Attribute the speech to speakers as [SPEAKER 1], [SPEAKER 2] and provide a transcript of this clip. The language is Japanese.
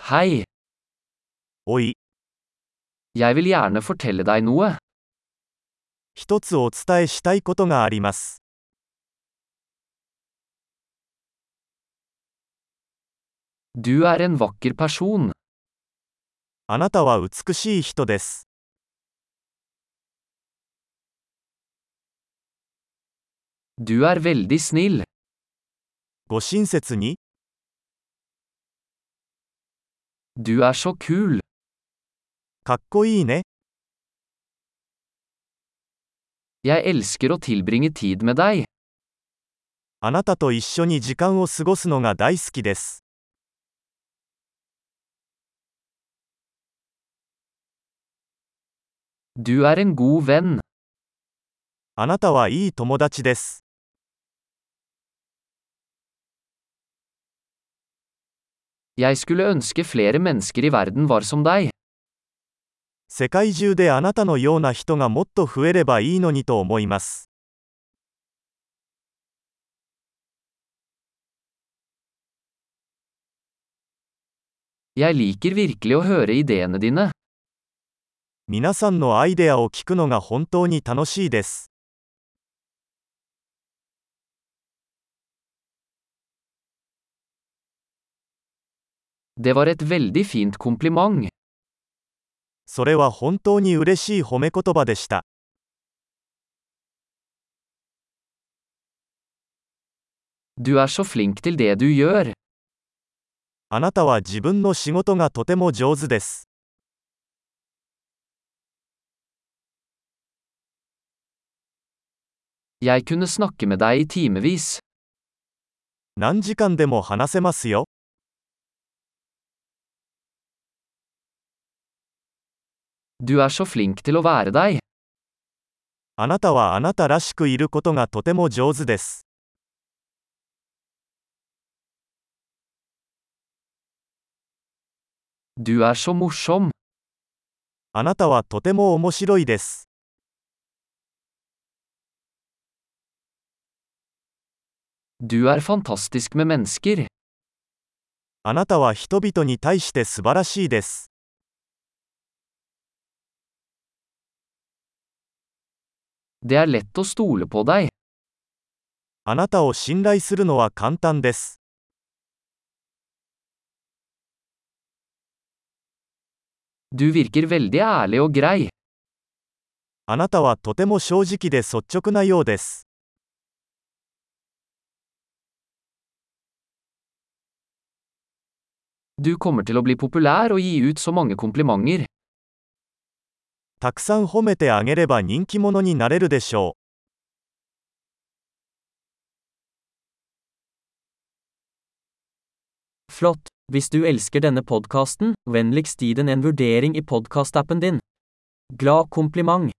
[SPEAKER 1] Hei,
[SPEAKER 2] おい、
[SPEAKER 1] jeg vil gjerne fortelle deg noe.
[SPEAKER 2] 一つお伝えしたいことがあります。
[SPEAKER 1] Du er en vakker person.
[SPEAKER 2] あなたは美しい人です。
[SPEAKER 1] Du er veldig snill.
[SPEAKER 2] ご親切に、
[SPEAKER 1] Du er så kul.
[SPEAKER 2] かっこいいね。
[SPEAKER 1] Jeg elsker å tilbringe tid med deg.
[SPEAKER 2] あなたと一緒に時間を過ごすのが大好きです。
[SPEAKER 1] Du er en god venn.
[SPEAKER 2] あなたはいい友達です。
[SPEAKER 1] Jeg skulle ønske flere mennesker i verden var som deg.
[SPEAKER 2] 世界中であなたのような人がもっと増えればいいのにと思います。
[SPEAKER 1] Jeg liker virkelig å høre ideene dine.
[SPEAKER 2] 皆さんのアイデアを聞くのが本当に楽しいです。
[SPEAKER 1] Det var et veldig fint kompliment.
[SPEAKER 2] それは本当に嬉しい褒め言葉でした。
[SPEAKER 1] Du er så flink til det du gjør.
[SPEAKER 2] あなたは自分の仕事がとても上手です。
[SPEAKER 1] Jeg kunne snakke med deg i timevis.
[SPEAKER 2] 何時間でも話せますよ。
[SPEAKER 1] Du er så flink til å være deg.
[SPEAKER 2] あなたはあなたらしくいることがとても上手です。
[SPEAKER 1] Du er så morsom.
[SPEAKER 2] あなたはとても面白いです。
[SPEAKER 1] Du er fantastisk med mennesker.
[SPEAKER 2] あなたは人々に対して素晴らしいです。
[SPEAKER 1] Det er lett å stole på deg.
[SPEAKER 2] あなたを信頼するのは簡単です。
[SPEAKER 1] Du virker veldig ærlig og grei.
[SPEAKER 2] あなたはとても正直で率直なようです。
[SPEAKER 1] Du kommer til å bli populær og gi ut så mange komplimenter.
[SPEAKER 2] たくさん褒めてあげれば人気者になれるでしょう。
[SPEAKER 3] Flott! Hvis du elsker denne podkasten, vennligst gi den en vurdering i podkastappen din. Glad kompliment!